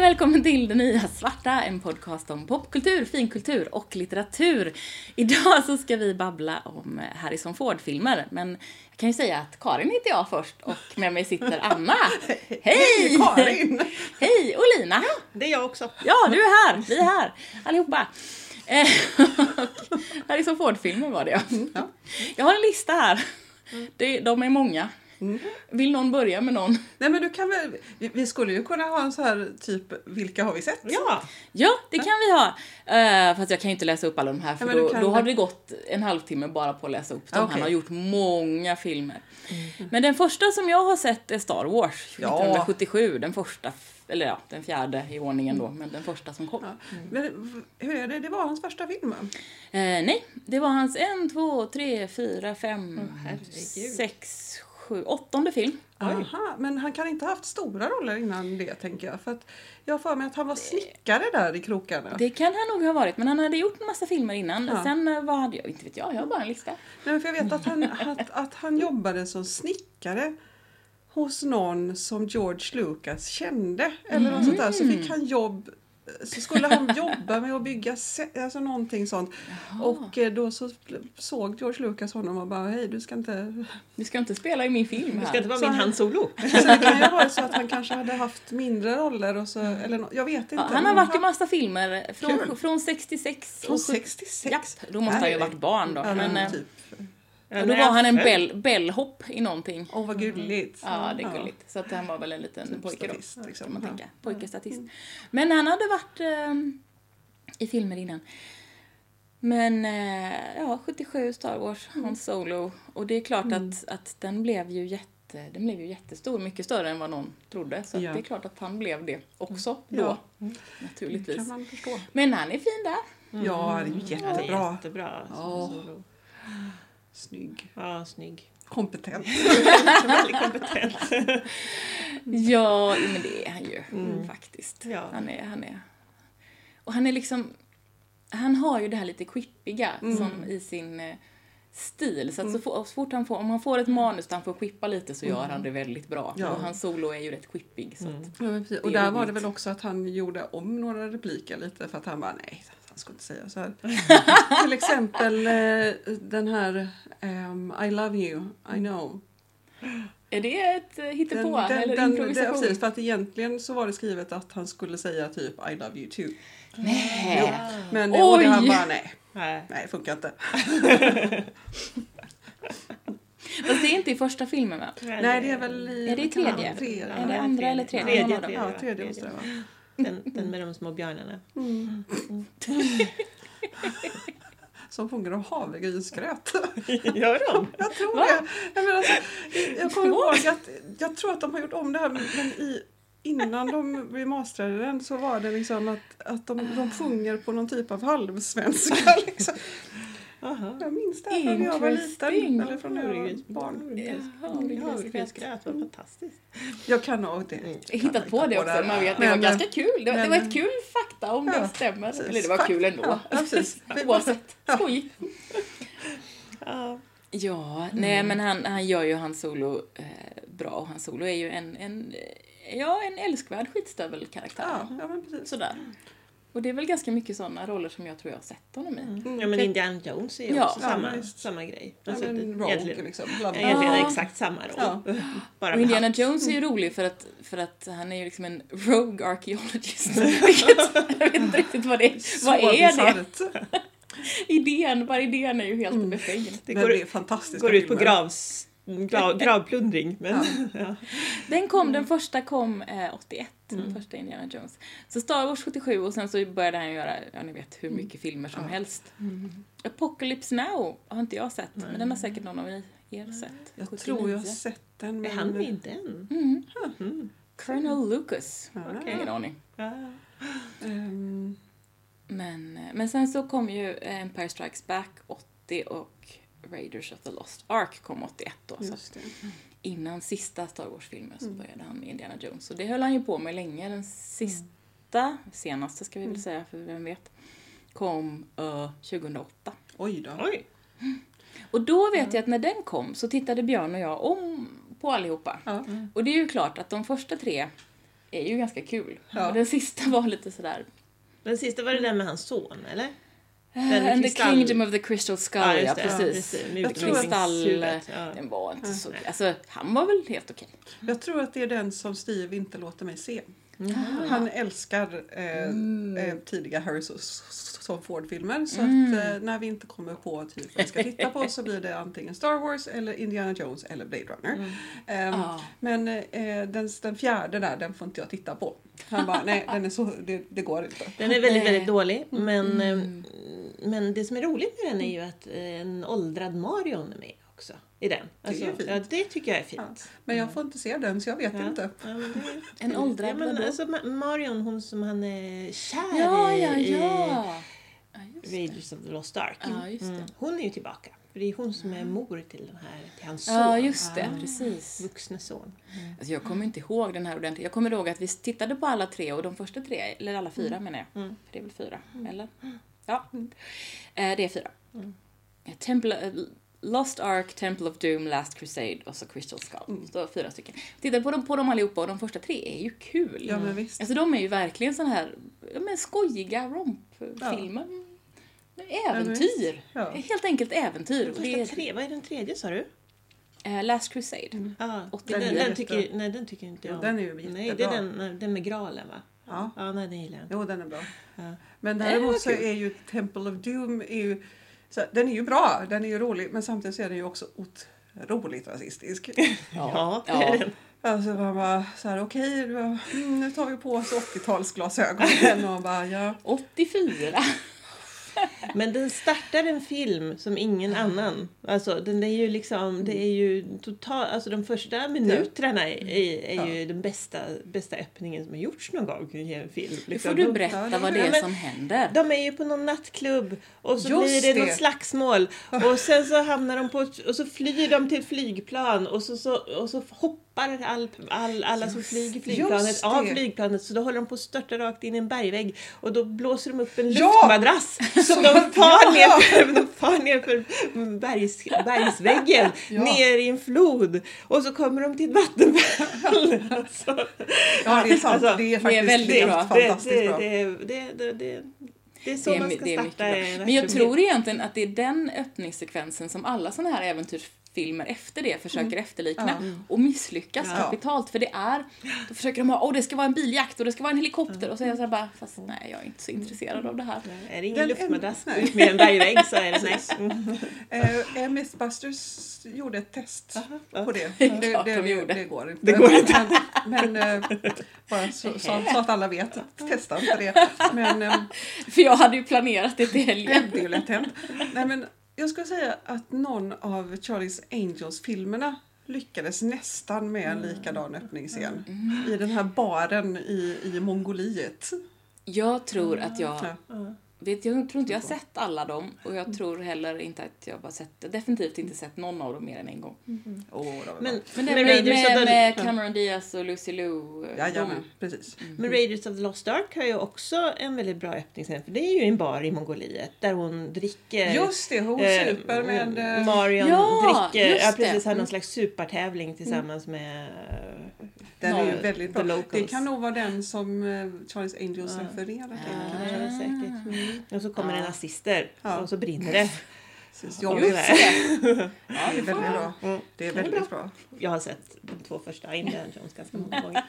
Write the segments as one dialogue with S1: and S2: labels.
S1: välkommen till Det Nya Svarta, en podcast om popkultur, finkultur och litteratur. Idag så ska vi babbla om Harrison Ford-filmer, men jag kan ju säga att Karin heter jag först och med mig sitter Anna. Hej!
S2: Karin!
S1: Hej! Och Lina!
S2: Det är jag också.
S1: Ja, du är här! Vi är här, allihopa. Eh, och Harrison Ford-filmer var det ja.
S2: Mm, Ja. Mm.
S1: Jag har en lista här. Det, de är många. Vill någon börja med någon?
S2: Nej men du kan väl, vi, vi skulle ju kunna ha en så här typ, vilka har vi sett? Ja!
S1: Ja, det kan vi ha. Uh, fast jag kan ju inte läsa upp alla de här för
S2: Ja, men
S1: då,
S2: du kan
S1: då har
S2: väl-
S1: det gått en halvtimme bara på att läsa upp dem.
S2: Okej. Mm.
S1: Han har gjort många filmer. Men den första som jag har sett är Star Wars
S2: Ja.
S1: 1977. Den första, f- eller ja, den fjärde i ordningen då, men den första som kom.
S2: Men v- hur är det, det var hans första film va?
S1: Eh, nej, det var hans en, två, tre, fyra, fem,
S3: herregud.
S1: sex, sju, åttonde film.
S2: Aha, men han kan inte ha haft stora roller innan det tänker jag. För att jag har för mig att han var snickare där i krokarna.
S1: Det kan han nog ha varit, men han hade gjort en massa filmer innan.
S2: Ja.
S1: Sen eh, vad hade jag, inte vet jag, jag har bara en lista.
S2: Nej, men för jag vet att han, att, att han jobbade som snickare hos någon som George Lucas kände. Eller något sånt där. Så
S1: Mm.
S2: fick han jobb så skulle han jobba med att bygga se- alltså någonting sånt. Och eh, då så såg George Lucas honom och bara hej du ska inte...
S1: Du ska inte spela i min film
S3: Det
S1: här.
S3: ska inte vara
S2: Så
S3: min
S2: här-
S3: Han Solo.
S2: Så det kan ju vara så att han kanske hade haft mindre roller och så, eller nå- jag vet inte.
S1: Ja, han har varit i massa filmer. Från,
S2: Kul.
S1: från 66.
S2: Från
S1: och sju-
S2: 66?
S1: Japp, då måste han ju ha varit barn då.
S2: Ja,
S1: men,
S2: men
S1: eh,
S2: typ.
S1: och då var han en bell, bellhopp i någonting.
S2: Åh vad gulligt.
S1: Ja, det är gulligt. Så att han var väl en liten pojke då.
S2: statist, liksom.
S1: Kan man
S2: Ja. Mm.
S1: tänka. Pojkestatist. Men han hade varit ehm, i filmer innan. Men eh, ja, 77 Star Wars,
S2: Mm.
S1: Han Solo. Och det är klart att, att den blev ju jätte den blev ju jättestor, mycket större än vad någon trodde. Så att
S2: Ja.
S1: det är klart att han blev det också då.
S2: Ja. Mm.
S1: Naturligtvis.
S2: Kan man förstå.
S1: Men han är fin där.
S2: Ja, det är ju
S3: Ja, det är
S2: jättebra.
S3: jättebra.
S2: Ja.
S3: Han Solo.
S2: Snygg.
S3: Ja, snygg.
S2: Kompetent.
S3: Väldigt kompetent.
S2: Mm.
S1: Ja, jo, men det är han ju faktiskt.
S3: Ja.
S1: Han, är, han är... Och han är liksom... Han har ju det här lite quippiga
S2: Mm.
S1: som i sin eh, stil. Så att så, fort, så fort han får, om han får ett manus där han får quippa lite så gör han det väldigt bra.
S2: Mm. Ja. Mm.
S1: Och hans solo är ju rätt quippig. Så att,
S2: Ja, men precis. Och
S1: Det är
S2: där var det
S1: roligt.
S2: väl också att han gjorde om några repliker lite för att han bara nej, han skulle inte säga så här. Till exempel eh, den här ehm, I love you, I know.
S1: Är det ett eh,
S2: Den,
S1: hittepå
S2: den,
S1: eller
S2: den, den,
S1: improvisation?
S2: precis, för att egentligen så var det skrivet att han skulle säga typ I love you too.
S1: Nej.
S2: Men Oj. Och
S1: Oj!
S2: det han bara nej,
S3: Nej.
S2: nej funkar inte.
S1: Fast det är inte i första filmen va?
S2: Nej det är väl i...
S1: Är det i tredje?
S2: tredje?
S1: Är det
S3: eh, Ja,
S1: andra
S3: tredje.
S1: eller tredje?
S3: Tredje,
S1: Någon av dem.
S2: Ja,
S3: tredje.
S2: tredje måste det vara.
S3: Den, den med de små björnarna.
S2: Mm. Som fångar av havregrynsgröt.
S3: Gör de?
S2: Jag tror
S1: Va?
S2: det. Jag, menar, alltså, jag kommer ihåg att jag tror att de har gjort om det här men i, innan de remasterade den så var det liksom att, att de, de sjunger på någon typ av halvsvenska. Liksom.
S3: Jaha.
S2: Jag minns det här när jag var
S1: Interesting.
S2: liten. Eller från när jag var barn.
S3: Havregrynsgröt. Havregrynsgröt var fantastiskt. Mm.
S2: Jag kan ha det.
S1: Jag har hittat på det också, man vet. Det var
S2: Men-
S1: ganska kul. Det var, det
S2: men-
S1: var ett kul fakta om det
S2: Ja,
S1: stämmer.
S2: precis.
S1: Eller det var kul ändå.
S2: Ja, ja, precis. Vi-
S1: Oavsett. Skoj.
S3: Ja.
S1: Ja, nej men han, han gör ju hans solo eh, bra och hans solo är ju en, en, eh, ja, en älskvärd skitstövelkaraktär.
S2: Ja, ja, men precis.
S1: Sådär. Och det är väl ganska mycket sådana roller som jag tror jag har sett honom i.
S3: Mm. ja, men Indiana Jones är ju
S1: Mm. Typ- Ja.
S3: också
S2: Mm. Ja,
S3: samma,
S2: visst.
S3: samma grej.
S2: Ja,
S3: Alltså,
S2: men
S3: det-
S2: Rogue
S3: egentligen
S2: liksom. bland annat.
S3: egentligen är det
S1: Ja.
S3: exakt samma roll.
S2: Ja.
S3: Bara
S1: Och
S3: med
S1: Indiana
S3: hatt.
S1: Jones är ju rolig för att, för att han är ju liksom en rogue archaeologist. Vilket, jag vet inte riktigt vad det är.
S2: Så
S1: Vad är det?
S2: bisarrt.
S1: Idén, bara idén är ju helt befängd.
S3: Det
S2: Men
S3: går,
S2: det är fantastiska
S3: går ut på
S2: filmer.
S3: gravs, grav, gravplundring. Men, ja.
S1: Den kom, den första kom eh, 81, den första Indiana Jones. Så Star Wars 77 och sen så började han göra, ja ni vet, hur mycket filmer som helst.
S3: Mm.
S1: Apocalypse Now har inte jag sett, men den har säkert någon av er sett.
S2: Jag tror jag har
S1: 79.
S2: sett den.
S3: Är
S2: men- Mhm.
S3: han med i den?
S1: Mm. Colonel Lucas.
S2: Ja.
S3: Okej.
S1: Ingen aning.
S3: Ja.
S2: Ehm,
S1: Men, eh, men sen så kom ju eh, Empire Strikes Back 80 och Raiders of the Lost Ark kom 81 då. Så att
S2: Just Mm. det.
S1: innan sista Star Wars-filmen så började han med Indiana Jones. Och det höll han ju på med länge. Den sista, senaste ska vi
S2: Mm.
S1: väl säga, för vem vet, kom eh, 2008.
S2: Oj då.
S3: Oj!
S1: Och då
S2: Mm.
S1: vet jag att när den kom så tittade Björn och jag om på allihopa.
S2: Ja.
S3: Mm.
S1: Och det är ju klart att de första tre är ju ganska kul.
S2: Ja.
S1: Och den sista var lite sådär...
S3: Den sista var det där med hans son, eller? Den
S1: Den Eh, "Äh, And the
S3: kristall-
S1: kingdom of the crystal skull, ja,
S3: just det.
S1: precis.
S3: Med
S2: Jag tror att-
S3: utrustningshuvudet, ja.
S1: Den var inte så... Alltså, han var väl helt okej.
S2: Jag tror att det är den som Steve inte låter mig se.
S3: Mm.
S1: Ah.
S2: Han älskar eh, eh, tidiga Harrison Ford-filmer. Så
S3: Mm.
S2: att, eh, när vi inte kommer på typ vad vi ska titta på så blir det antingen Star Wars eller Indiana Jones eller Blade Runner.
S3: Mm.
S2: Ehm,
S3: Ah.
S1: Ja.
S2: Men eh, den, den fjärde där, den får inte jag titta på. Han bara, nej den är så, det, det går inte.
S3: Den är väldigt,
S1: Nej.
S3: väldigt dålig. Men,
S1: Mm.
S3: eh, men det som är roligt med den är ju att eh, en åldrad Marion är med också. I den. Alltså,
S2: är ju fint.
S3: ja, det tycker jag är fint.
S2: Men jag får inte se den så jag vet
S3: Ja.
S2: inte.
S3: Ja, men det,
S1: En åldrad
S3: ja, men,
S1: vadå?
S3: alltså, Ma- Marion, hon som han är kär
S1: Ja,
S3: i-
S1: ja,
S3: i
S1: ja. Ja, just det.
S3: Raiders of the Lost Ark.
S1: Ja, just det.
S3: Mm. Hon är ju tillbaka. För det är hon som är mor till, den här, till hans son.
S1: Ja, just det. Precis.
S3: Vuxne son.
S1: Alltså jag kommer inte ihåg den här ordentligt. Jag kommer ihåg att vi tittade på alla tre och de första tre, eller alla fyra
S3: Mm.
S1: menar jag. För det är väl fyra, eller? Ja. Eh, det är fyra.
S3: Mm.
S1: Eh, Temple, eh, Lost Ark, Temple of Doom, Last Crusade och så Crystal Skull.
S3: Mm.
S1: Så fyra stycken. Tittade på dem, på dem allihopa och de första tre är ju kul.
S2: Ja men visst.
S1: Alltså de är ju verkligen sådana här ja, men skojiga rompfilmer. Äventyr!
S2: Ja.
S1: Helt enkelt äventyr.
S3: Den
S1: Och Det
S3: första
S1: är,
S3: tre, Mm. vad är den tredje sa du?
S1: eh, Last Crusade.
S3: Ja,
S1: Och
S3: den,
S1: den
S3: den,
S1: är
S3: tycker, nej, den tycker inte
S2: Jo,
S3: jag om.
S2: den är ju
S3: Nej, det är
S2: jättebra.
S3: den, nej, den med graalen va?
S2: Ja.
S3: Ja, nej den gillar jag inte.
S2: Jo, den är bra.
S3: Ja.
S2: Men
S1: Det var
S2: däremot så
S1: kul.
S2: är ju Temple of Doom är ju, så, här, den är ju bra, den är ju rolig, men samtidigt så är den ju också otroligt rasistisk.
S3: Ja, det
S1: Ja.
S3: är den.
S2: Alltså man bara så här, okej, du bara, mm, nu tar vi på oss 80-talsglasögon igen och bara ja.
S1: 84!
S3: Men den startar en film som ingen annan. Alltså den är ju liksom, det är ju total, alltså de första minuterna är, är, är ju den bästa, bästa öppningen som har gjorts någon gång i en film.
S1: Nu
S3: Liksom.
S1: får du
S3: De-
S1: berätta vad det
S3: Ja,
S1: är
S3: men-
S1: som händer.
S3: De är ju på någon nattklubb och så
S2: Just
S3: blir det, något
S2: det.
S3: slagsmål och sen så hamnar de på ett, och så flyr de till ett flygplan och så, så, och så hoppar all, all, alla som flyger flygplanet
S2: just
S3: av
S2: det.
S3: flygplanet så då håller de på att störta rakt in i en bergvägg och då blåser de upp en
S2: Ja!
S3: luftmadrass så de
S2: Ja!
S3: far ner för, de far ner för bergs, bergsväggen
S2: Ja.
S3: ner i en flod och så kommer de till ett vattenfall. Alltså.
S2: Ja, det är sant.
S3: Alltså,
S2: det är faktiskt
S1: väldigt
S2: helt
S1: bra.
S2: fantastiskt
S3: det,
S2: bra.
S3: Det, det, det, det, det är så
S1: Det är,
S3: man
S1: my-
S3: ska
S1: det är mycket
S3: starta en
S1: bra. Men jag
S3: aktion.
S1: tror egentligen att det är den öppningssekvensen som alla såna här äventyrsfilmer efter det försöker efterlikna
S2: Ja.
S1: och misslyckas
S2: Ja.
S1: kapitalt för det är, då försöker de ha, åh det ska vara en biljakt och det ska vara en helikopter och så är jag såhär bara, fast nej jag är inte så intresserad av det här.
S3: Är det ingen
S2: Den-
S3: luftmadrass
S2: nej.
S3: med en bergvägg så är det nej. Mm.
S2: Eh, eh, Mythbusters gjorde ett test
S3: ja.
S2: på det.
S1: Det är klart de
S2: det,
S1: gjorde.
S2: det går inte.
S3: Det går
S2: inte. Men, men eh, bara så, så, så att alla vet, testa inte det. Men, eh,
S1: För jag hade ju planerat det till
S2: Ja,
S1: helgen.
S2: det är ju lätt hänt. Nej, men jag skulle säga att någon av Charlie's Angels-filmerna lyckades nästan med en likadan öppningsscen. I den här baren i, i Mongoliet.
S1: Jag tror att jag,
S2: Ja.
S1: vet, jag tror inte jag har sett alla dem och jag tror heller inte att jag bara sett, definitivt inte sett någon av dem mer än en gång.
S2: Åh, de är
S3: Men,
S2: bra.
S1: Men
S3: men,
S1: det med, med,
S3: Raiders of
S1: med,
S3: the,
S1: Cameron Diaz och Lucy Liu. eh,
S2: Jajamän,
S1: de-
S2: precis.
S3: men Raiders of the Lost Ark har ju också en väldigt bra öppningsscen för det är ju en bar i Mongoliet där hon dricker
S2: Just det, hon
S3: eh,
S2: super med... eh,
S3: Marion
S1: Ja,
S3: dricker,
S1: just
S3: ja
S1: det. Mm.
S3: precis, har någon slags supertävling tillsammans med...
S2: Den är ju
S3: Mar-
S2: väldigt
S3: The
S2: bra. Det
S3: Locals.
S2: kan nog vara den som eh, Charlie's Angels refererar
S1: Ah.
S2: till.
S3: Ja,
S2: kanske.
S3: det är säkert. Mm. Och så kommer det nazister
S2: Ja.
S3: och så brinner det.
S2: Precis,
S3: Och
S2: jag
S3: vi
S2: vet.
S3: bara,
S1: Ja,
S2: Det är väldigt
S3: Mm.
S2: bra. Det är väldigt bra.
S3: Jag har sett de två första Indiana Jones ganska många gånger.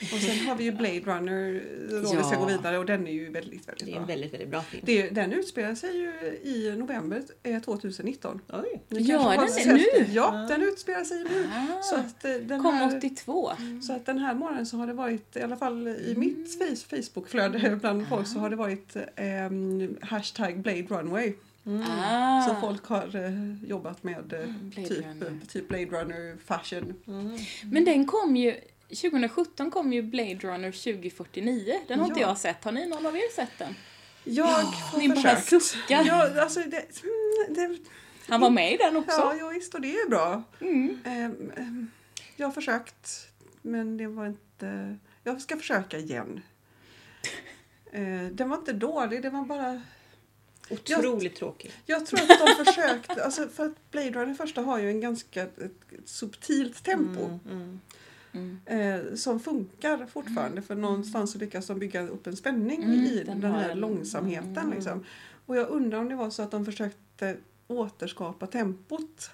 S2: Och sen har vi ju Blade Runner, eh, om vi ska
S1: Ja.
S2: gå vidare, och den är ju väldigt, väldigt
S3: Det är
S2: bra.
S3: en väldigt, väldigt bra film.
S2: Det, den utspelar sig ju i november eh, 2019.
S3: Oj.
S2: Ni
S1: Ja,
S2: kanske har
S1: den är
S2: sett
S1: nu.
S2: den. Ja, den utspelar sig nu. Så, att, eh, den
S1: Ah, Kom
S2: här,
S1: 82.
S2: så att den här morgonen så har det varit, i alla fall i mitt face- Facebookflöde bland folk, så har det varit ehm, hashtag Blade Runway.
S1: Ah.
S2: Mm.
S1: Mm,
S2: Så folk har eh, jobbat med eh,
S1: Blade
S2: typ,
S1: Runner.
S2: typ Blade Runner fashion.
S3: Mm.
S1: Men den kom ju, 2017 kom ju Blade Runner 2049. Den har inte
S2: Ja.
S1: jag sett. Har ni någon av er sett den?
S2: Jag har
S1: Ni bara
S2: försökt.
S1: suckar.
S2: Ja, alltså det, mm, det,
S1: Han var med i den också. Mm.
S2: ja, ja, visst, och det är ju bra. Ehm, ehm, jag har försökt, men det var inte... Jag ska försöka igen. Eh, den var inte dålig, den var bara...
S3: Otroligt tråkig.
S2: Jag tror att de försökte, alltså för att Blade Runner första har ju en ganska ett, ett subtilt tempo.
S1: Mm.
S2: eh, som funkar fortfarande för någonstans så lyckas de bygga upp en spänning
S1: Mm,
S2: i
S1: den
S2: den,
S1: har
S2: här
S1: en-
S2: långsamheten.
S1: mm.
S2: Liksom. Och jag undrar om det var så att de försökte återskapa tempot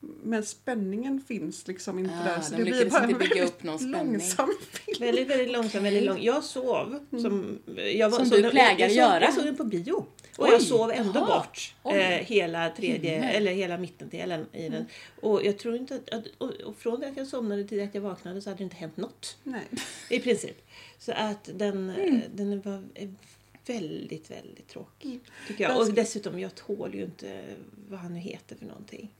S2: men spänningen finns liksom inte
S1: Ah,
S2: där så
S1: de
S2: det blir
S1: lyckades
S2: bara en
S1: inte bygga
S2: väldigt
S1: upp någon spänning.
S2: långsam film.
S3: Väldigt, väldigt långsam, väldigt lång. Jag sov. Som,
S1: Mm.
S3: jag
S1: Som
S3: såg
S1: du
S3: den-
S1: plägar
S3: jag, jag
S1: göra.
S3: Såg, jag såg den på bio. Och
S1: Oj,
S3: jag sov ändå
S1: jaha.
S3: bort eh,
S1: Oj.
S3: hela tredje,
S1: Himmel. Mm.
S3: eller hela mittendelen i den. Och jag tror inte att, att och, och från det att jag somnade till att jag vaknade så hade det inte hänt något.
S2: Nej.
S3: I princip. Så att den,
S2: Mm.
S3: eh, den var eh, väldigt, väldigt tråkig. Tycker jag.
S2: Men-
S3: Och dessutom, jag tål ju inte vad han nu heter för någonting.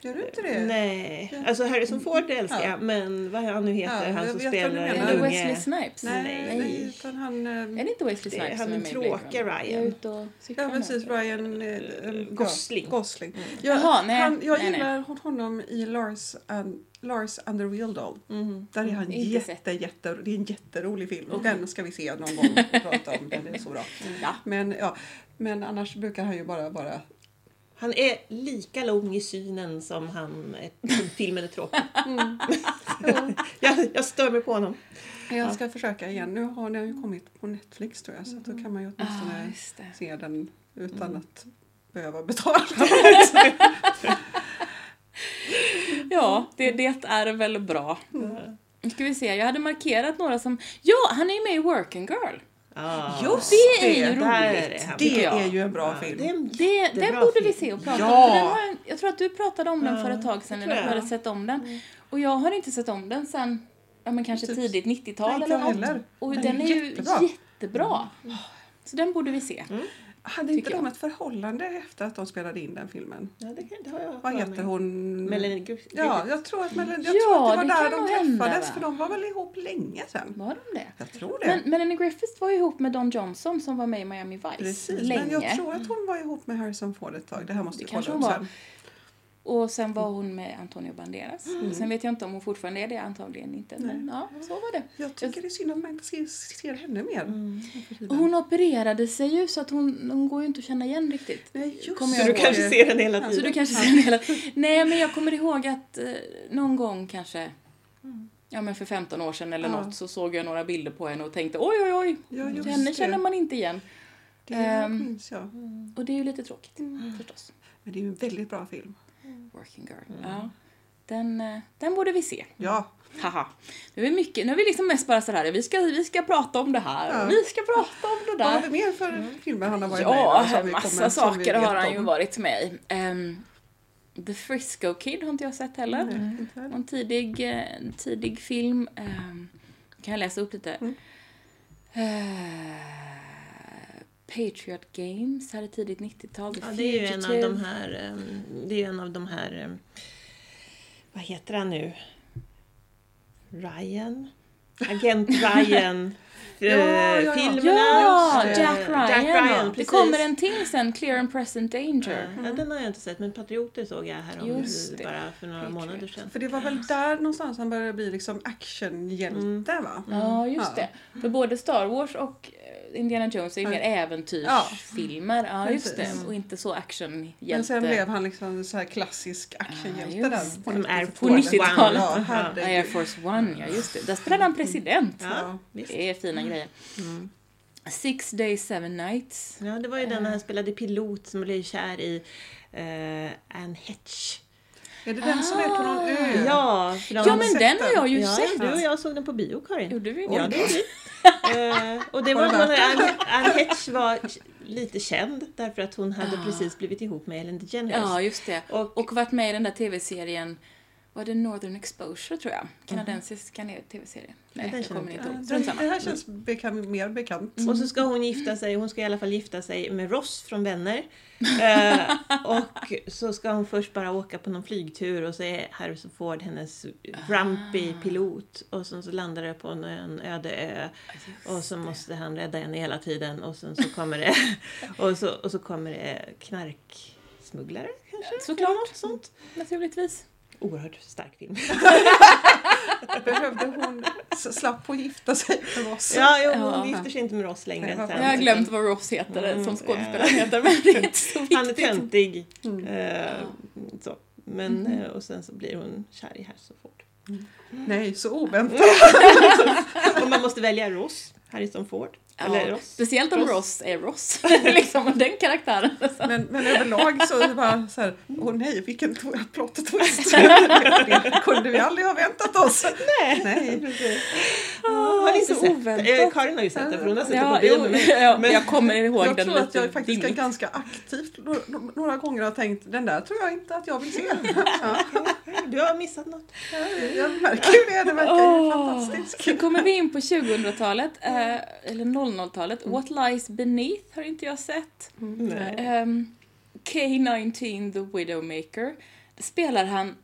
S2: Gör du inte det?
S3: Nej, alltså Harrison Ford älskar jag, men vad han nu heter,
S2: Ja,
S3: han
S2: jag
S3: som
S2: vet vad du
S3: spelar
S2: menar.
S3: den
S1: Eller
S2: Eller
S1: Wesley
S3: unge.
S1: Snipes?
S2: Nej,
S3: Nej.
S2: nej, utan han... eh,
S1: Är det inte Wesley
S3: Det
S1: Snipes som
S3: är
S1: är
S3: han den
S1: med i Blade
S3: tråkiga
S1: Runner?
S3: Ryan.
S1: Jag är ute och cyklar
S2: Ja
S1: nu.
S2: precis, Ryan eh, eh,
S3: Gosling.
S2: Gosling. Jag,
S1: Mm. Jaha, nej,
S2: han, jag
S1: nej, nej.
S2: gillar honom i Lars, and, Lars and the Real Doll.
S3: Mm.
S2: Där är han
S1: Inte
S2: jätte, jätte, det är en jätterolig film. och Den ska vi se någon gång och prata om. Den är så bra.
S3: Mm.
S1: Ja.
S2: Men, ja, men annars brukar han ju bara vara...
S3: Han är lika lång i synen som han är, som filmen är tråkig.
S2: mm.
S3: jag, jag stör mig på honom.
S2: Jag ska försöka igen. Nu har den ju kommit på Netflix tror jag så att då kan man ju
S1: Ah,
S2: åtminstone
S1: just det. Mm.
S2: se den utan att behöva betala.
S1: Ja, det, det är väl bra.
S2: Mm.
S1: Nu ska vi se, jag hade markerat några som... Ja, han är ju med i Working Girl.
S3: Ah.
S2: Just
S1: Det är ju
S3: där
S1: roligt.
S3: är han.
S1: tycker
S2: Det
S1: jag.
S2: är ju en bra
S3: Ja,
S2: film.
S3: det är en
S1: Det,
S3: jättebra
S1: den borde vi
S3: film.
S1: se och prata
S2: Ja.
S1: om. För den har, jag- jag tror att du pratade om den
S3: Ja,
S1: för ett tag sedan
S3: det
S1: eller
S3: tror
S1: att du
S3: jag.
S1: hade sett om den. Och jag har inte sett om den sen, ja men kanske
S2: Typ.
S1: tidigt
S2: Nej,
S1: 90-tal
S2: inte
S1: eller
S2: jag
S1: något.
S2: heller.
S1: Och
S2: Den
S1: den,
S2: är
S1: är ju
S2: jättebra.
S1: jättebra. Mm. Så den borde vi se.
S2: Hade inte
S1: tycker
S2: de ett förhållande efter att de spelade in den filmen?
S3: Ja, det, kan- det har jag
S2: Vad
S3: för
S2: heter
S3: mig.
S2: hon?
S3: Melanie Griffith.
S2: Mm. Ja, jag tror att, Melanie, jag
S1: Ja,
S2: tror att det var
S1: det kan
S2: där de
S1: nog hända,
S2: träffades
S1: va?
S2: för de var väl ihop länge sedan?
S1: Var de det?
S2: Jag tror det.
S1: Men Melanie Griffiths var ju ihop med Don Johnson som var med i Miami Vice
S2: Precis,
S1: länge.
S2: men jag tror att hon var ihop med Harrison Ford ett tag. Det här
S1: Det
S2: måste vi kolla
S1: kanske
S2: upp
S1: hon var.
S2: sen.
S1: Och sen var hon med Antonio Banderas. Sen vet jag inte om hon fortfarande är det, antagligen inte. Men ja, så var det.
S2: Jag tycker det är synd att man inte ser, ser henne mer.
S1: Mm. Och hon opererade sig ju så att hon, hon går ju inte att känna igen riktigt.
S2: Nej, just
S1: Kommer
S2: det.
S3: Så
S1: jag
S3: du
S1: ihåg.
S3: kanske ser den hela
S1: Så
S3: tiden.
S1: du kanske ser hela... Nej, men jag kommer ihåg att eh, någon gång kanske, ja men för 15 år sedan eller
S2: Mm. Ja.
S1: något, så såg jag några bilder på henne och tänkte oj, oj, oj,
S2: Ja, just
S1: henne
S2: det.
S1: känner man inte igen.
S2: Det
S1: Ehm.
S2: minns jag.
S1: Och det är ju lite tråkigt
S2: Mm.
S1: förstås.
S2: Men det är ju en väldigt bra
S1: Mm.
S2: film.
S1: Working Girl.
S2: Mm.
S1: Ja. Den, eh, den borde vi se.
S2: Ja,
S1: Haha. Nu är, vi mycket, nu är vi liksom mest bara sådär, vi ska, vi ska prata om det här
S2: Ja.
S1: och vi ska prata om det
S2: vad har
S1: där. Mm.
S2: vi mer för filmer han har varit med i
S1: Ja,
S2: då, som vi
S1: massa
S2: kommer- som vi
S1: saker
S2: vet
S1: har han ju
S2: om?
S1: varit med i. Ehm, The Frisco Kid har inte jag sett heller.
S2: Nej, inte heller.
S1: Och En tidig, eh, en tidig film. ehm, kan jag läsa upp lite?
S2: Mm.
S1: Eh, Patriot Games här i tidigt 90-tal. The
S3: Ja, det är ju en av de
S1: Fugitive.
S3: här... ehm, Det är ju en av de här... ehm, Vad heter han nu? Ryan? Agent Ryan. eh,
S2: Ja, ja, ja.
S3: Filmerna.
S1: Ja,
S3: Eh,
S1: Jack Ryan. ja. det
S3: precis. Eh,
S1: kommer en till sen, Clear and Present
S3: Ja,
S1: Danger.
S3: ja, den har jag inte sett, men Patrioter såg jag här om
S1: Just det.
S3: bara för några
S1: Patriot.
S3: månader sedan.
S2: För det var väl där någonstans han började bli liksom actionhjälte
S1: Mm.
S2: va?
S1: Ja, just
S2: Ja.
S1: det. För både Star Wars och eh, Indiana Jones är ju
S2: Ja.
S1: mer äventyrsfilmer. Ja, just
S2: Precis.
S1: det. Och inte så actionhjälte.
S2: Men sen blev han liksom så här klassisk actionhjälte
S1: Ah,
S2: där.
S1: just
S2: på
S3: Som
S2: något
S3: Air
S2: sätt.
S1: På 90-talet.
S2: Ja,
S1: Ja,
S2: herregud.
S1: Air Force One, ja just det. Där spelade han president.
S3: Ja, visst.
S1: Det är fina grejer. Six Days Seven Nights.
S3: Ja, det var ju den när han spelade pilot som blev kär i eh, Anne Hetch.
S2: Är det den som är på någon ö?
S3: Ja, för de-
S1: Ja men
S2: sett
S1: den har
S2: den?
S1: jag ju
S3: ja,
S1: sett.
S3: Du och jag såg den på bio, Karin.
S1: Gjorde vi det?
S3: Ja, det gjorde vi. Eh, och det
S2: Var
S3: var,
S2: det
S3: när
S2: värt
S3: Anne- Anne Hetch var lite känd därför att hon hade precis blivit ihop med Ellen DeGeneres.
S1: Ah. Ja, just det.
S3: Och-
S1: Och, varit med i den där tv-serien, var det Northern Exposure tror jag? Kanadensisk mm. tv-serie. Nej,
S3: den
S1: jag
S3: känner
S1: kommer
S3: inte
S1: inte
S2: Ja,
S1: ihåg.
S2: Det
S1: Strunt
S2: det
S1: samma.
S2: här känns bekant, mer bekant.
S3: Och så ska hon gifta sig, hon ska i alla fall gifta sig med Ross från Vänner. Eh, och så ska hon först bara åka på någon flygtur och så är Harrison Ford hennes
S1: Ah.
S3: grumpy pilot. Och sen så landar det på en- en öde ö. Och så måste han rädda henne hela tiden och sen så kommer det, och så, och så kommer det knarksmugglare kanske?
S1: Såklart.
S3: Eller något sånt.
S1: Naturligtvis.
S3: Oerhört stark film.
S2: Behövde hon, s- slapp hon gifta sig med oss?
S3: Ja, jo, hon
S1: Ja.
S3: gifter sig inte med Ross längre.
S2: Nej, vad
S3: sen,
S1: Jag har
S3: utan-
S1: glömt vad Ross heter
S3: Mm,
S1: som
S3: ja.
S1: skådespelaren heter, men det är inte Mm. så viktigt.
S3: Han
S1: Mm-hmm.
S2: Mm.
S3: är eh, töntig. Eh, så. Men, eh, och sen så blir hon kär i Harrison Ford.
S2: Nej, så oväntat.
S3: Och man måste välja Ross, Harrison Ford. Eller
S1: Ja,
S3: Ross.
S1: speciellt om
S3: Ross.
S1: Ross, är Ross. liksom den karaktären.
S2: Men, men överlag så är det bara så här, åh nej, vilken to- plot twist. det kunde vi aldrig ha väntat oss.
S3: Nej.
S2: Nej.
S3: Precis. Ah, har ni inte
S1: så
S3: sett
S1: Ah, oväntat. Ah.
S3: det? Eh, Karin har ju sett det för hon har sett det
S1: Ja,
S3: på bio
S1: jo,
S3: med mig.
S1: ja,
S3: Men-
S1: jag kommer ihåg
S2: Jag
S1: den
S2: tror att
S1: lite
S2: jag faktiskt
S1: dimmigt.
S2: ganska aktivt några, några gånger har tänkt, den där tror jag inte att jag vill se.
S3: Du har missat något.
S2: Jag märker ju det, det verkar ju
S1: Åh.
S2: fantastiskt.
S1: Sen kommer vi in på 2000-talet, eh, eller 00-talet. What Lies Beneath har inte jag sett.
S3: Mm.
S2: Mm.
S3: Nej.
S1: Ehm, K-19 The Widowmaker. Spelar han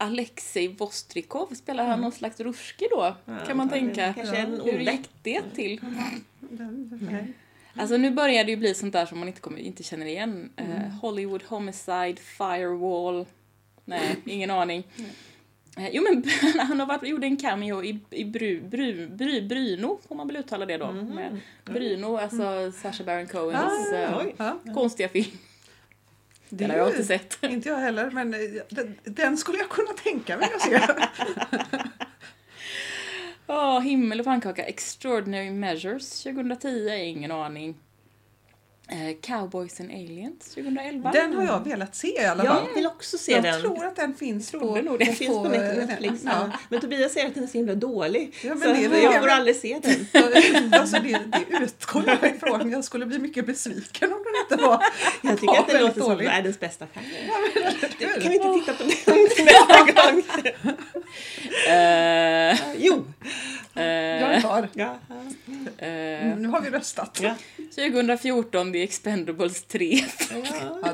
S1: Alexej Vostrikov? Spelar han någon slags ruski då?
S3: Mm. Ja, Mm.
S1: kan man tänka.
S3: Kanske en
S1: Hur
S3: oläck.
S1: gick det till?
S2: Den- nej.
S1: Alltså nu börjar det ju bli sånt där som man inte, kommer, inte känner igen. Eh,
S2: Mm.
S1: Hollywood Homicide, Firewall. Nej, ingen aning. Eh, jo men han har varit, gjorde en cameo i, i Bru, Bru, Bru, Bruno, får man väl uttala det då?
S3: Mm.
S2: Mm.
S1: Med Bruno, alltså Sacha Baron Cohens eh,
S3: oj.
S2: Ah, Ja,
S1: konstiga film.
S2: det
S1: Den
S2: är
S1: har jag
S2: ju-
S1: inte sett.
S2: Inte jag heller, men eh, den, den skulle jag kunna tänka mig att se.
S1: Åh, himmel och pannkaka. Extraordinary Measures 2010, ingen aning. Eh, Cowboys and Aliens 2011.
S2: Den har jag velat se i alla fall.
S3: Jag vill också se
S2: jag
S3: den.
S2: tror att den finns på...
S1: trodde nog
S3: Den
S1: det.
S3: finns på
S2: på, eh,
S3: Netflix.
S2: ja.
S3: Ja. Men Tobias säger att den är så himla dålig.
S2: Ja, men
S3: så
S2: det är
S3: att
S2: väl-
S3: jag får aldrig se den.
S2: Jag- Alltså det, det utgår jag ifrån. Jag skulle bli mycket besviken om den inte var
S3: Jag tycker att
S2: var
S3: det
S2: väldigt
S3: låter som
S2: dålig.
S3: världens bästa film.
S2: Eller
S3: Kan
S2: hur?
S3: vi inte titta på den till nästa gång?
S1: Eh,
S3: Jo!
S2: Jag är
S1: eh,
S2: klar.
S3: Ja.
S1: eh,
S2: Mm, Nu har vi röstat.
S3: Ja.
S1: 2014, The Expendables 3.
S2: Ja,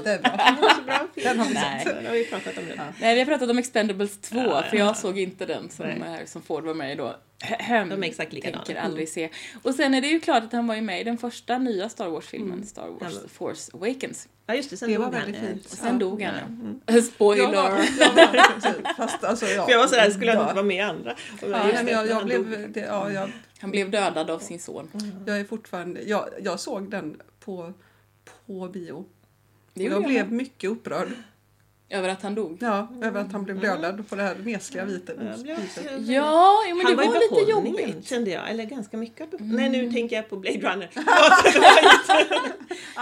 S2: det är bra.
S3: Den var så bra film.
S2: Den har vi
S1: Nej.
S2: sett.
S3: Den har vi pratat om nu.
S1: Nej, vi har pratat om Expendables 2,
S3: Ja,
S1: för
S3: ja,
S1: jag
S3: ja.
S1: såg inte den som,
S3: Nej.
S1: eh, som Ford var med i då.
S3: De är exakt likadana.
S1: Tänker aldrig se. Och sen är det ju klart att han var ju med i den första nya Star Wars-filmen, Star Wars
S3: Ja.
S1: Force Awakens.
S3: Ja just det, sen
S2: Det var
S3: dog han.
S2: väldigt fint.
S1: Och sen
S2: Ja.
S1: dog han ja. Spoiler!
S2: Jag var, jag var, precis. fast alltså, ja.
S3: För jag var sådär, skulle jag
S2: Ja.
S3: inte vara med i andra? Och
S2: Ja,
S3: just
S2: nej,
S3: det,
S2: men jag, jag,
S3: han dog.
S2: blev, det, ja, jag,
S1: Han blev dödad av sin son.
S2: jag är fortfarande... Jag, jag såg den på, på bio.
S1: Det
S2: Och
S1: gjorde
S2: jag
S1: jag
S2: blev mycket upprörd
S1: Över att han dog.
S2: ja, över att han blev
S1: Mm.
S2: dödad på det här mesliga vita
S3: Jag blev också-
S2: huset.
S1: Ja, jo, men
S3: han
S1: det var,
S3: var i
S1: lite
S3: behållningen
S1: jobbigt. Mm.
S3: kände jag, eller ganska mycket av behållningen. Nej nu tänker jag på Blade Runner.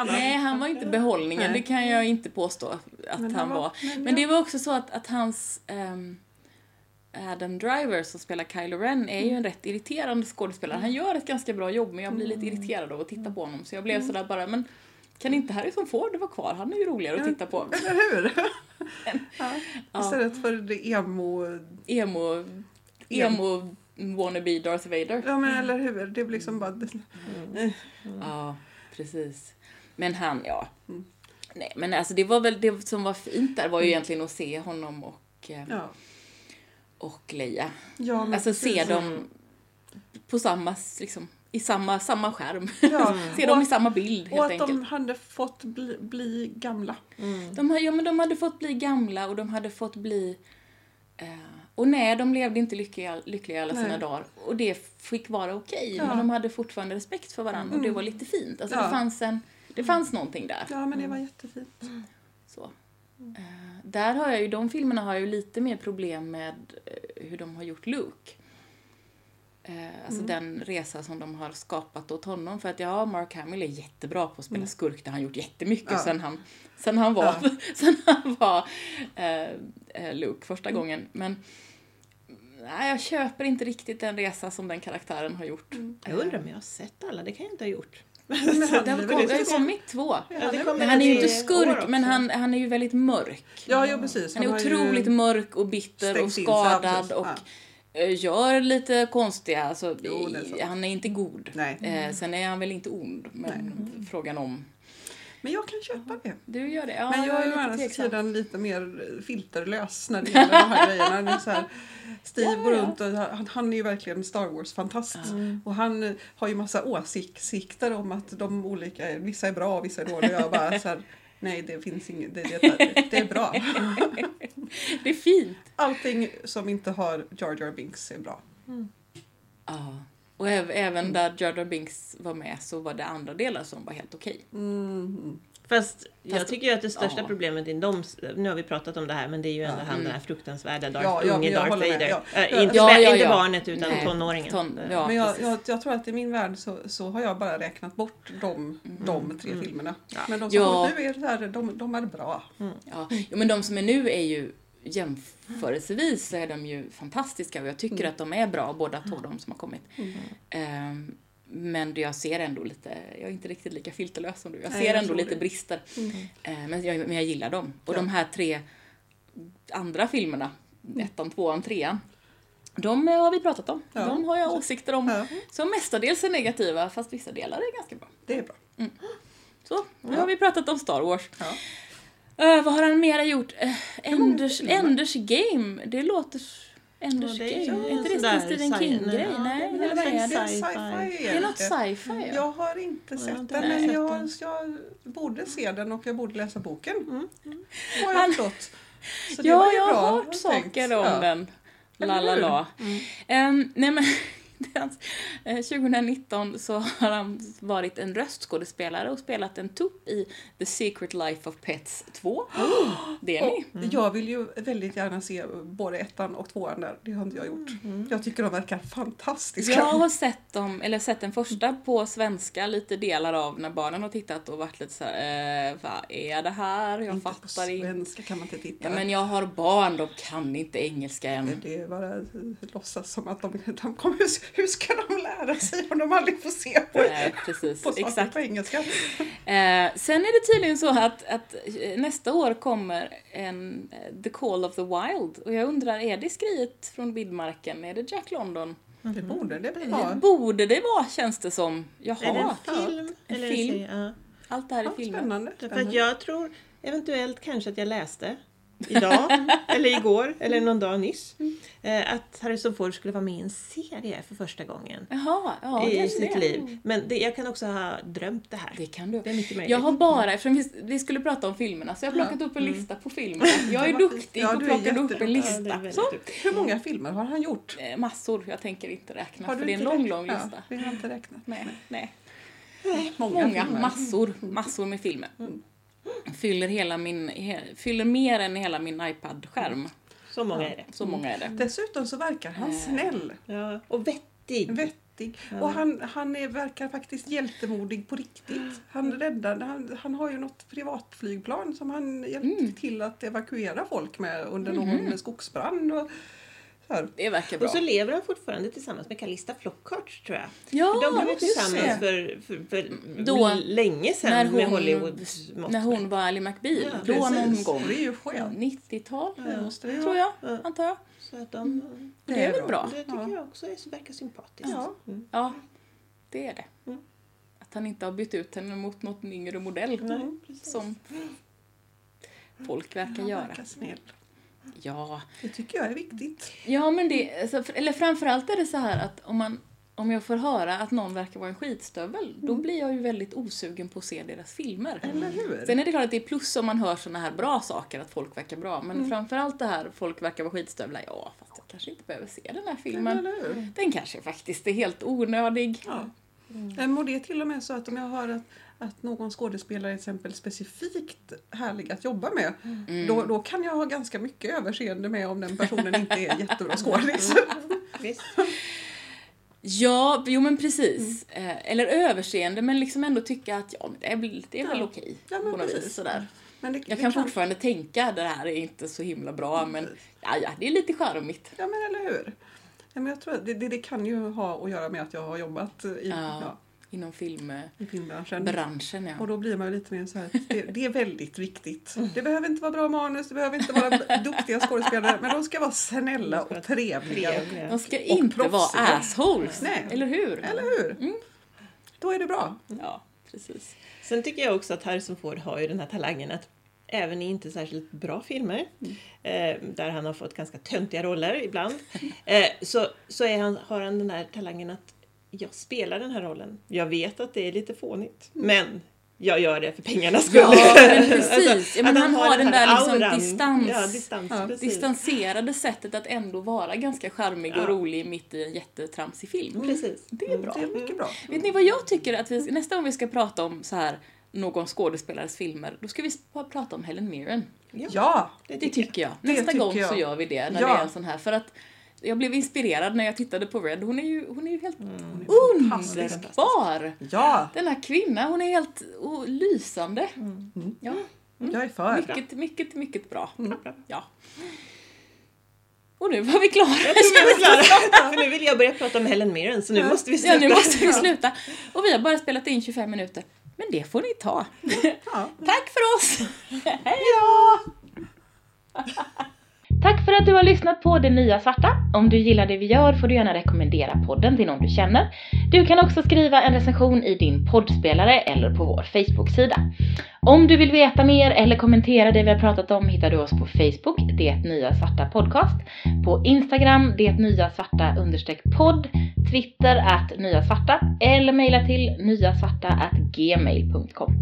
S1: Nej, han var inte behållningen,
S2: Nej.
S1: det kan jag inte påstå att han,
S2: han
S1: var.
S2: var-
S1: Men det var också så att, att hans ehm, Adam Driver som spelar Kylo Ren är
S2: Mm.
S1: ju en rätt irriterande skådespelare. Han gör ett ganska bra jobb men jag blir
S2: Mm.
S1: lite irriterad av att titta på honom så jag blev sådär bara, men kan inte Harrison Ford vara kvar? Han är ju roligare att titta på.
S2: Eller hur?
S1: Ja.
S2: Istället för det emo...
S1: Emo, emo wannabe Darth Vader.
S2: Ja, men eller hur? Det blir liksom bara...
S1: Ja, precis. Men han, ja.
S2: Mm.
S1: Nej, men alltså det var väl det som var fint där var ju egentligen att se honom och, eh,
S2: Ja.
S1: och Leia.
S2: Ja, men
S1: Alltså se
S2: Mm, precis.
S1: dem på samma, liksom, i samma, samma skärm.
S2: Ja.
S1: se
S2: Och
S1: dem i
S2: att-
S1: samma bild
S2: Och
S1: helt
S2: att de
S1: enkelt.
S2: hade fått bli, bli gamla.
S3: Mm.
S1: De... har- ja, men de hade fått bli gamla och de hade fått bli... Eh, och nej, de levde inte lyckliga, lyckliga alla sina
S2: Nej.
S1: dagar. Och det fick vara okej.
S2: Ja. Mm.
S1: Men de hade fortfarande respekt för varandra och det var lite fint. Alltså
S2: Ja. Mm.
S1: det fanns en... Det fanns någonting där.
S2: Ja, men det var jättefint.
S1: Mm. Så. Eh, där har jag ju, de filmerna har jag ju lite mer problem med eh, hur de har gjort Luke. Eh, alltså den resa som de har skapat åt honom. För att ja, Mark Hamill är jättebra på att spela skurk, det har han gjort jättemycket
S2: Ja.
S1: sen, han, sen han var, sen han var eh, eh, Luke första gången. Men nej, jag köper inte riktigt den resa som den karaktären har gjort.
S3: Jag undrar om jag har sett alla, det kan jag inte ha gjort.
S2: han-
S1: Det har
S2: Det
S1: kom-
S2: är väl
S1: det har ju
S2: lite-
S1: kommit två.
S3: Ja, det
S1: Men
S3: kommer
S1: han är ju
S3: i
S1: inte
S3: år också.
S1: skurk, men han, han är ju väldigt mörk.
S2: Ja, ja precis.
S1: Han är
S2: har ju
S1: otroligt mörk och bitter och
S2: stängt in sig, ja,
S1: skadad
S2: precis.
S1: och
S2: Ja.
S1: eh, gör lite konstiga, alltså,
S2: Jo, det är
S1: i-
S2: sant. Mm.
S1: han är inte god.
S2: Nej.
S1: Eh, sen är han väl inte ond, men frågan om...
S2: Men jag kan köpa det.
S1: Du gör det? Ja,
S2: Men jag är ju å
S1: lite
S2: andra
S1: tveksam.
S2: sidan lite mer eh, filterlös när det gäller de här grejerna. Det är så här, Steve går runt och han, han är ju verkligen Star Wars-fantast. Och han eh, har ju massa åsikter om att de olika, är- vissa är bra och vissa är dåliga. Jag bara så här, nej det finns inget, det, det, det är bra.
S1: Det är fint.
S2: Allting som inte har Jar Jar Binks är bra.
S1: Ja. Och
S2: Mm.
S1: äv- även där Jar Jar Binks var med så var det andra delar som var helt okej.
S2: Mm.
S3: Fast jag
S1: Fast-
S3: tycker ju att det största
S2: ja.
S3: problemet i de, nu har vi pratat om det här, men det är ju ändå
S2: Ja.
S3: han den här
S1: Mm.
S3: fruktansvärda Darth,
S2: Ja, ja,
S3: unge
S2: men jag
S3: Darth
S2: håller med.
S3: Vader.
S2: Ja.
S3: Äh, inte
S1: Ja,
S3: spä-
S1: ja,
S3: inte
S1: ja.
S3: barnet utan
S1: Nej.
S3: tonåringen. Mm.
S1: Ton- ja.
S2: Men jag,
S1: precis.
S2: jag, jag tror att i min värld så, så har jag bara räknat bort de,
S1: Mm.
S2: de tre filmerna. Men de som
S1: Ja.
S2: kommer nu är så här, de, de är bra.
S1: Ja, jo, men de som är nu är ju jämförelsevis så är de ju fantastiska och jag tycker
S2: Mm.
S1: att de är bra båda två, de som har kommit. Ehm, men det jag ser ändå lite, jag är inte riktigt lika filterlös som du, jag
S2: Nej,
S1: ser
S2: jag
S1: ändå
S2: tror
S1: lite
S2: det.
S1: brister. Ehm, men, jag, men jag gillar dem. Och de här tre andra filmerna,
S3: Mm.
S1: ettan, tvåan, trean, de eh, har vi pratat om.
S2: Ja.
S1: De har jag åsikter om.
S2: Ja.
S1: Som mestadels är negativa, fast vissa delar är ganska bra.
S2: Det är bra.
S1: Så, nu har vi pratat om Star Wars.
S2: Ja.
S1: Eh, vad har han mera gjort? Uh, Enders, Enders Game, det låter... Enders
S3: Ja, det är ju
S1: Game, är
S3: en
S1: inte
S3: sån
S1: det
S3: där
S1: Stephen
S3: sci-
S1: King-grej?
S3: nej,
S1: Nej,
S3: det är
S1: eller vad
S3: väl
S1: är
S2: Det
S1: det?
S2: är sci-fi
S1: Det
S3: Sci-fi.
S1: är något
S2: egentligen. Mm,
S1: sci-fi, ja.
S2: Jag har inte
S3: jag har
S2: sett
S3: inte
S2: den,
S3: heller
S2: men
S3: sett
S2: jag,
S3: den.
S2: jag borde se den och jag borde läsa boken.
S1: Han-
S2: Har jag förstått. Så det
S1: Mm, Ja,
S2: var ju
S1: jag
S2: bra
S1: har hört
S2: tänkt.
S1: saker om
S2: Ja.
S1: den. La,
S2: Eller
S1: la,
S2: hur? Mm.
S1: la. Ehm, nej men, det är hans- eh, 2019 så har han varit en röstskådespelare och spelat en tupp i The Secret Life of Pets 2. Det är ni.
S2: Och Jag vill ju väldigt gärna se både ettan och tvåan där. Det har inte jag
S1: Mm,
S2: gjort. Jag tycker de verkar fantastiska.
S1: Jag har sett dem, eller sett den första på svenska, lite delar av när barnen har tittat och varit lite såhär, eh, vad är det här? Jag
S2: inte på
S1: fattar inte.
S2: svenska kan man inte titta.
S1: Ja, men jag har barn, de kan inte engelska än.
S2: Det är bara att låtsas som att de, de kommer, hur- hur ska de lära sig om de aldrig får se på,
S1: Nej, precis.
S2: på saker
S1: Exakt.
S2: på engelska?
S1: Eh, sen är det tydligen så att, att eh, nästa år kommer en eh, The Call of the Wild och jag undrar, är det skriet från Bidmarken? Är det Jack London?
S2: Det borde det vara.
S1: Mm. Borde det vara, känns det som. Jag
S3: Är det
S1: har
S3: en film?
S1: En
S3: Eller
S1: film.
S3: serie? Ja.
S1: allt det här i
S2: Ja,
S1: filmen.
S2: spännande.
S3: Därför att jag tror eventuellt kanske att jag läste idag eller igår eller någon dag nyss
S1: Mm.
S3: eh, att Harrison Ford skulle vara med i en serie för första gången
S1: Jaha, ja,
S3: i
S1: kanske
S3: sitt
S1: det.
S3: liv. Men det, jag kan också ha drömt det här.
S1: Det kan du.
S3: Det är mycket möjligt.
S1: Jag har bara, eftersom vi, vi skulle prata om filmerna, så jag har plockat upp en lista på filmer. Jag är
S2: Mm. Det var fint.
S1: duktig
S2: Ja,
S1: på
S2: du
S1: att
S2: är
S1: plocka upp
S2: jätteduktig.
S1: en
S3: Ja, det är
S1: lista.
S3: väldigt
S1: så,
S3: duktigt.
S2: Hur många filmer har han gjort?
S1: eh, massor, jag tänker inte räkna
S2: Har
S1: för det är en
S2: inte
S1: lång,
S2: räknat?
S1: lång lista.
S2: Ja, vi har inte räknat.
S1: Nej, nej.
S2: Många,
S1: Många,
S2: filmer.
S1: massor, massor med filmer. Fyller, hela min, he, fyller mer än hela min iPad-skärm.
S3: Så många är det.
S1: Så många är det.
S2: Dessutom så verkar
S1: Eh,
S2: han snäll,
S3: Ja. Och vettig.
S2: vettig och han, han är, verkar faktiskt hjältemodig på riktigt.
S1: Mm.
S2: Han räddar, han, han har ju något privatflygplan som han hjälpte
S1: Mm.
S2: till att evakuera folk med
S1: Mhm.
S2: under någon skogsbrand. Och, så här.
S1: Det verkar bra.
S3: Och så lever han fortfarande tillsammans med Calista Flockhart tror jag.
S1: Ja,
S3: de var ju
S1: just
S3: tillsammans
S2: det.
S3: för, för, för
S1: Då-
S3: länge sedan
S1: när
S3: med
S1: hon-
S3: Hollywoods mått
S1: När
S3: mätt.
S1: hon var Ally McBeal,
S3: Ja,
S1: då någon
S2: Precis,
S1: gång.
S2: och Det är ju skönt.
S1: 90-tal,
S2: Det måste det ju
S1: tror
S2: vara.
S1: jag,
S3: Ja.
S1: antar jag.
S3: Så att de,
S1: Det, är väl Mm. bra.
S3: Det tycker
S2: Ja.
S3: jag också är, verkar sympatiskt.
S2: Ja.
S3: Mm.
S1: Ja, det är det.
S3: Mm.
S1: Att han inte har bytt ut henne mot något yngre modell.
S3: Nej, precis.
S1: Mm, Som folk verkar
S2: Han
S1: göra.
S2: verkar snäll.
S1: Ja.
S2: Det tycker jag är viktigt.
S1: ja, men det... Alltså, för, eller framförallt är det så här att om, man, om jag får höra att någon verkar vara en skitstövel, då
S2: Mm.
S1: blir jag ju väldigt osugen på att se deras filmer.
S2: Eller hur?
S1: Mm. Sen är det klart att det är plus om man hör såna här bra saker, att folk verkar bra. Men
S2: Mm.
S1: framförallt det här, folk verkar vara skitstövlar. Ja, fast jag kanske inte behöver se den här filmen.
S2: Eller hur?
S1: Den kanske faktiskt är helt onödig.
S2: Ja. Mm. Och det är till och med så att om jag hör att, att någon skådespelare till exempel specifikt härlig att jobba med, då, då kan jag ha ganska mycket överseende med om den personen inte är jättebra skådis.
S3: Visst.
S1: Ja, jo men precis.
S2: Mm.
S1: Eh, Eller överseende, men liksom ändå tycka att ja, men det är väl, det är väl
S2: Ja.
S1: okej.
S2: Ja, men
S1: på något
S2: precis.
S1: vis, sådär.
S2: Men det,
S1: Jag
S2: det
S1: kan fortfarande tänka det här är inte så himla bra, men ja, ja, det är lite charmigt.
S2: Ja men eller hur. Ja, men jag tror att det, det, det kan ju ha att göra med att jag har jobbat i,
S1: Ja.
S2: ja.
S1: Inom filmbranschen,
S2: i filmbranschen. Och
S1: ja.
S2: då blir man ju lite mer så här, att det, det är väldigt viktigt. Det behöver inte vara bra manus, det behöver inte vara duktiga skådespelare, men de ska vara snälla och trevliga.
S1: De ska
S2: och
S1: inte
S2: proffsiga.
S1: vara assholes,
S2: Nej.
S1: eller hur?
S2: Eller hur?
S1: Mm.
S2: Mm. Då är det bra.
S1: Ja, precis.
S3: Sen tycker jag också att Harrison Ford har ju den här talangen att även i inte särskilt bra filmer,
S1: Mm.
S3: eh, där han har fått ganska töntiga roller ibland, eh, så, så är han, har han den här talangen att jag spelar den här rollen. Jag vet att det är lite fånigt, men jag gör det för pengarnas skull.
S1: Mm. Ja, men precis. Ja, men
S3: att
S1: han har den
S3: här
S1: där liksom
S3: auran.
S1: distans-
S3: Ja, distans,
S2: Ja,
S3: precis.
S1: Distanserade sättet att ändå vara ganska charmig och
S3: Ja. Mm.
S1: rolig mitt i en jättetramsig film.
S3: Precis.
S1: Mm, Det är bra. Mm.
S2: Det är mycket bra.
S1: Vet ni vad jag tycker att vi, nästa gång vi ska prata om så här
S4: någon skådespelares filmer, då ska vi sp- prata om Helen Mirren.
S2: Ja!
S4: Det,
S3: tycker jag.
S4: tycker jag.
S2: Det
S4: Nästa
S2: tycker
S4: gång så
S2: jag.
S4: gör vi det när
S2: Ja.
S4: det är en sån här. För att jag blev inspirerad när jag tittade på Red. Hon är ju, hon är ju helt
S2: fantastisk.
S4: underbar!
S2: Ja!
S4: Den här kvinnan, hon är helt oh, lysande. Mm. Ja,
S2: Jag är för.
S4: mycket, mycket, mycket bra. Ja. Och nu var vi klara.
S3: Jag tror vi är klara. För nu vill jag börja prata om Helen Mirren så nu måste vi
S4: Ja,
S3: sluta.
S4: nu måste vi sluta. Och vi har bara spelat in 25 minuter. Men det får ni ta.
S2: Ja.
S4: Tack för oss!
S1: Tack för att du har lyssnat på Det Nya Svarta. Om du gillar det vi gör får du gärna rekommendera podden till någon du känner. Du kan också skriva en recension i din poddspelare eller på vår Facebook-sida. Om du vill veta mer eller kommentera det vi har pratat om hittar du oss på Facebook, Det Nya Svarta Podcast, på Instagram, Det Nya Svarta understreck podd, Twitter att Nya Svarta eller mejla till nyasvarta at gmail.com.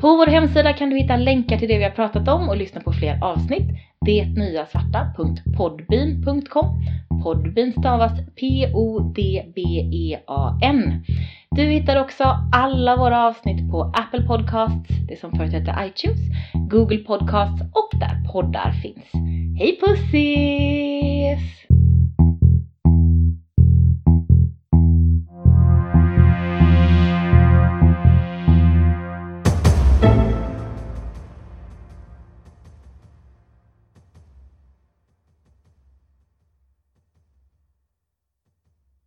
S1: På vår hemsida kan du hitta länkar till det vi har pratat om och lyssna på fler avsnitt. Detnyasvarta.podbean.com Podbean stavas P-O-D-B-E-A-N. E Du hittar också alla våra avsnitt på Apple Podcasts, det som förut hette iTunes, Google Podcasts och där poddar finns. Hej pussy!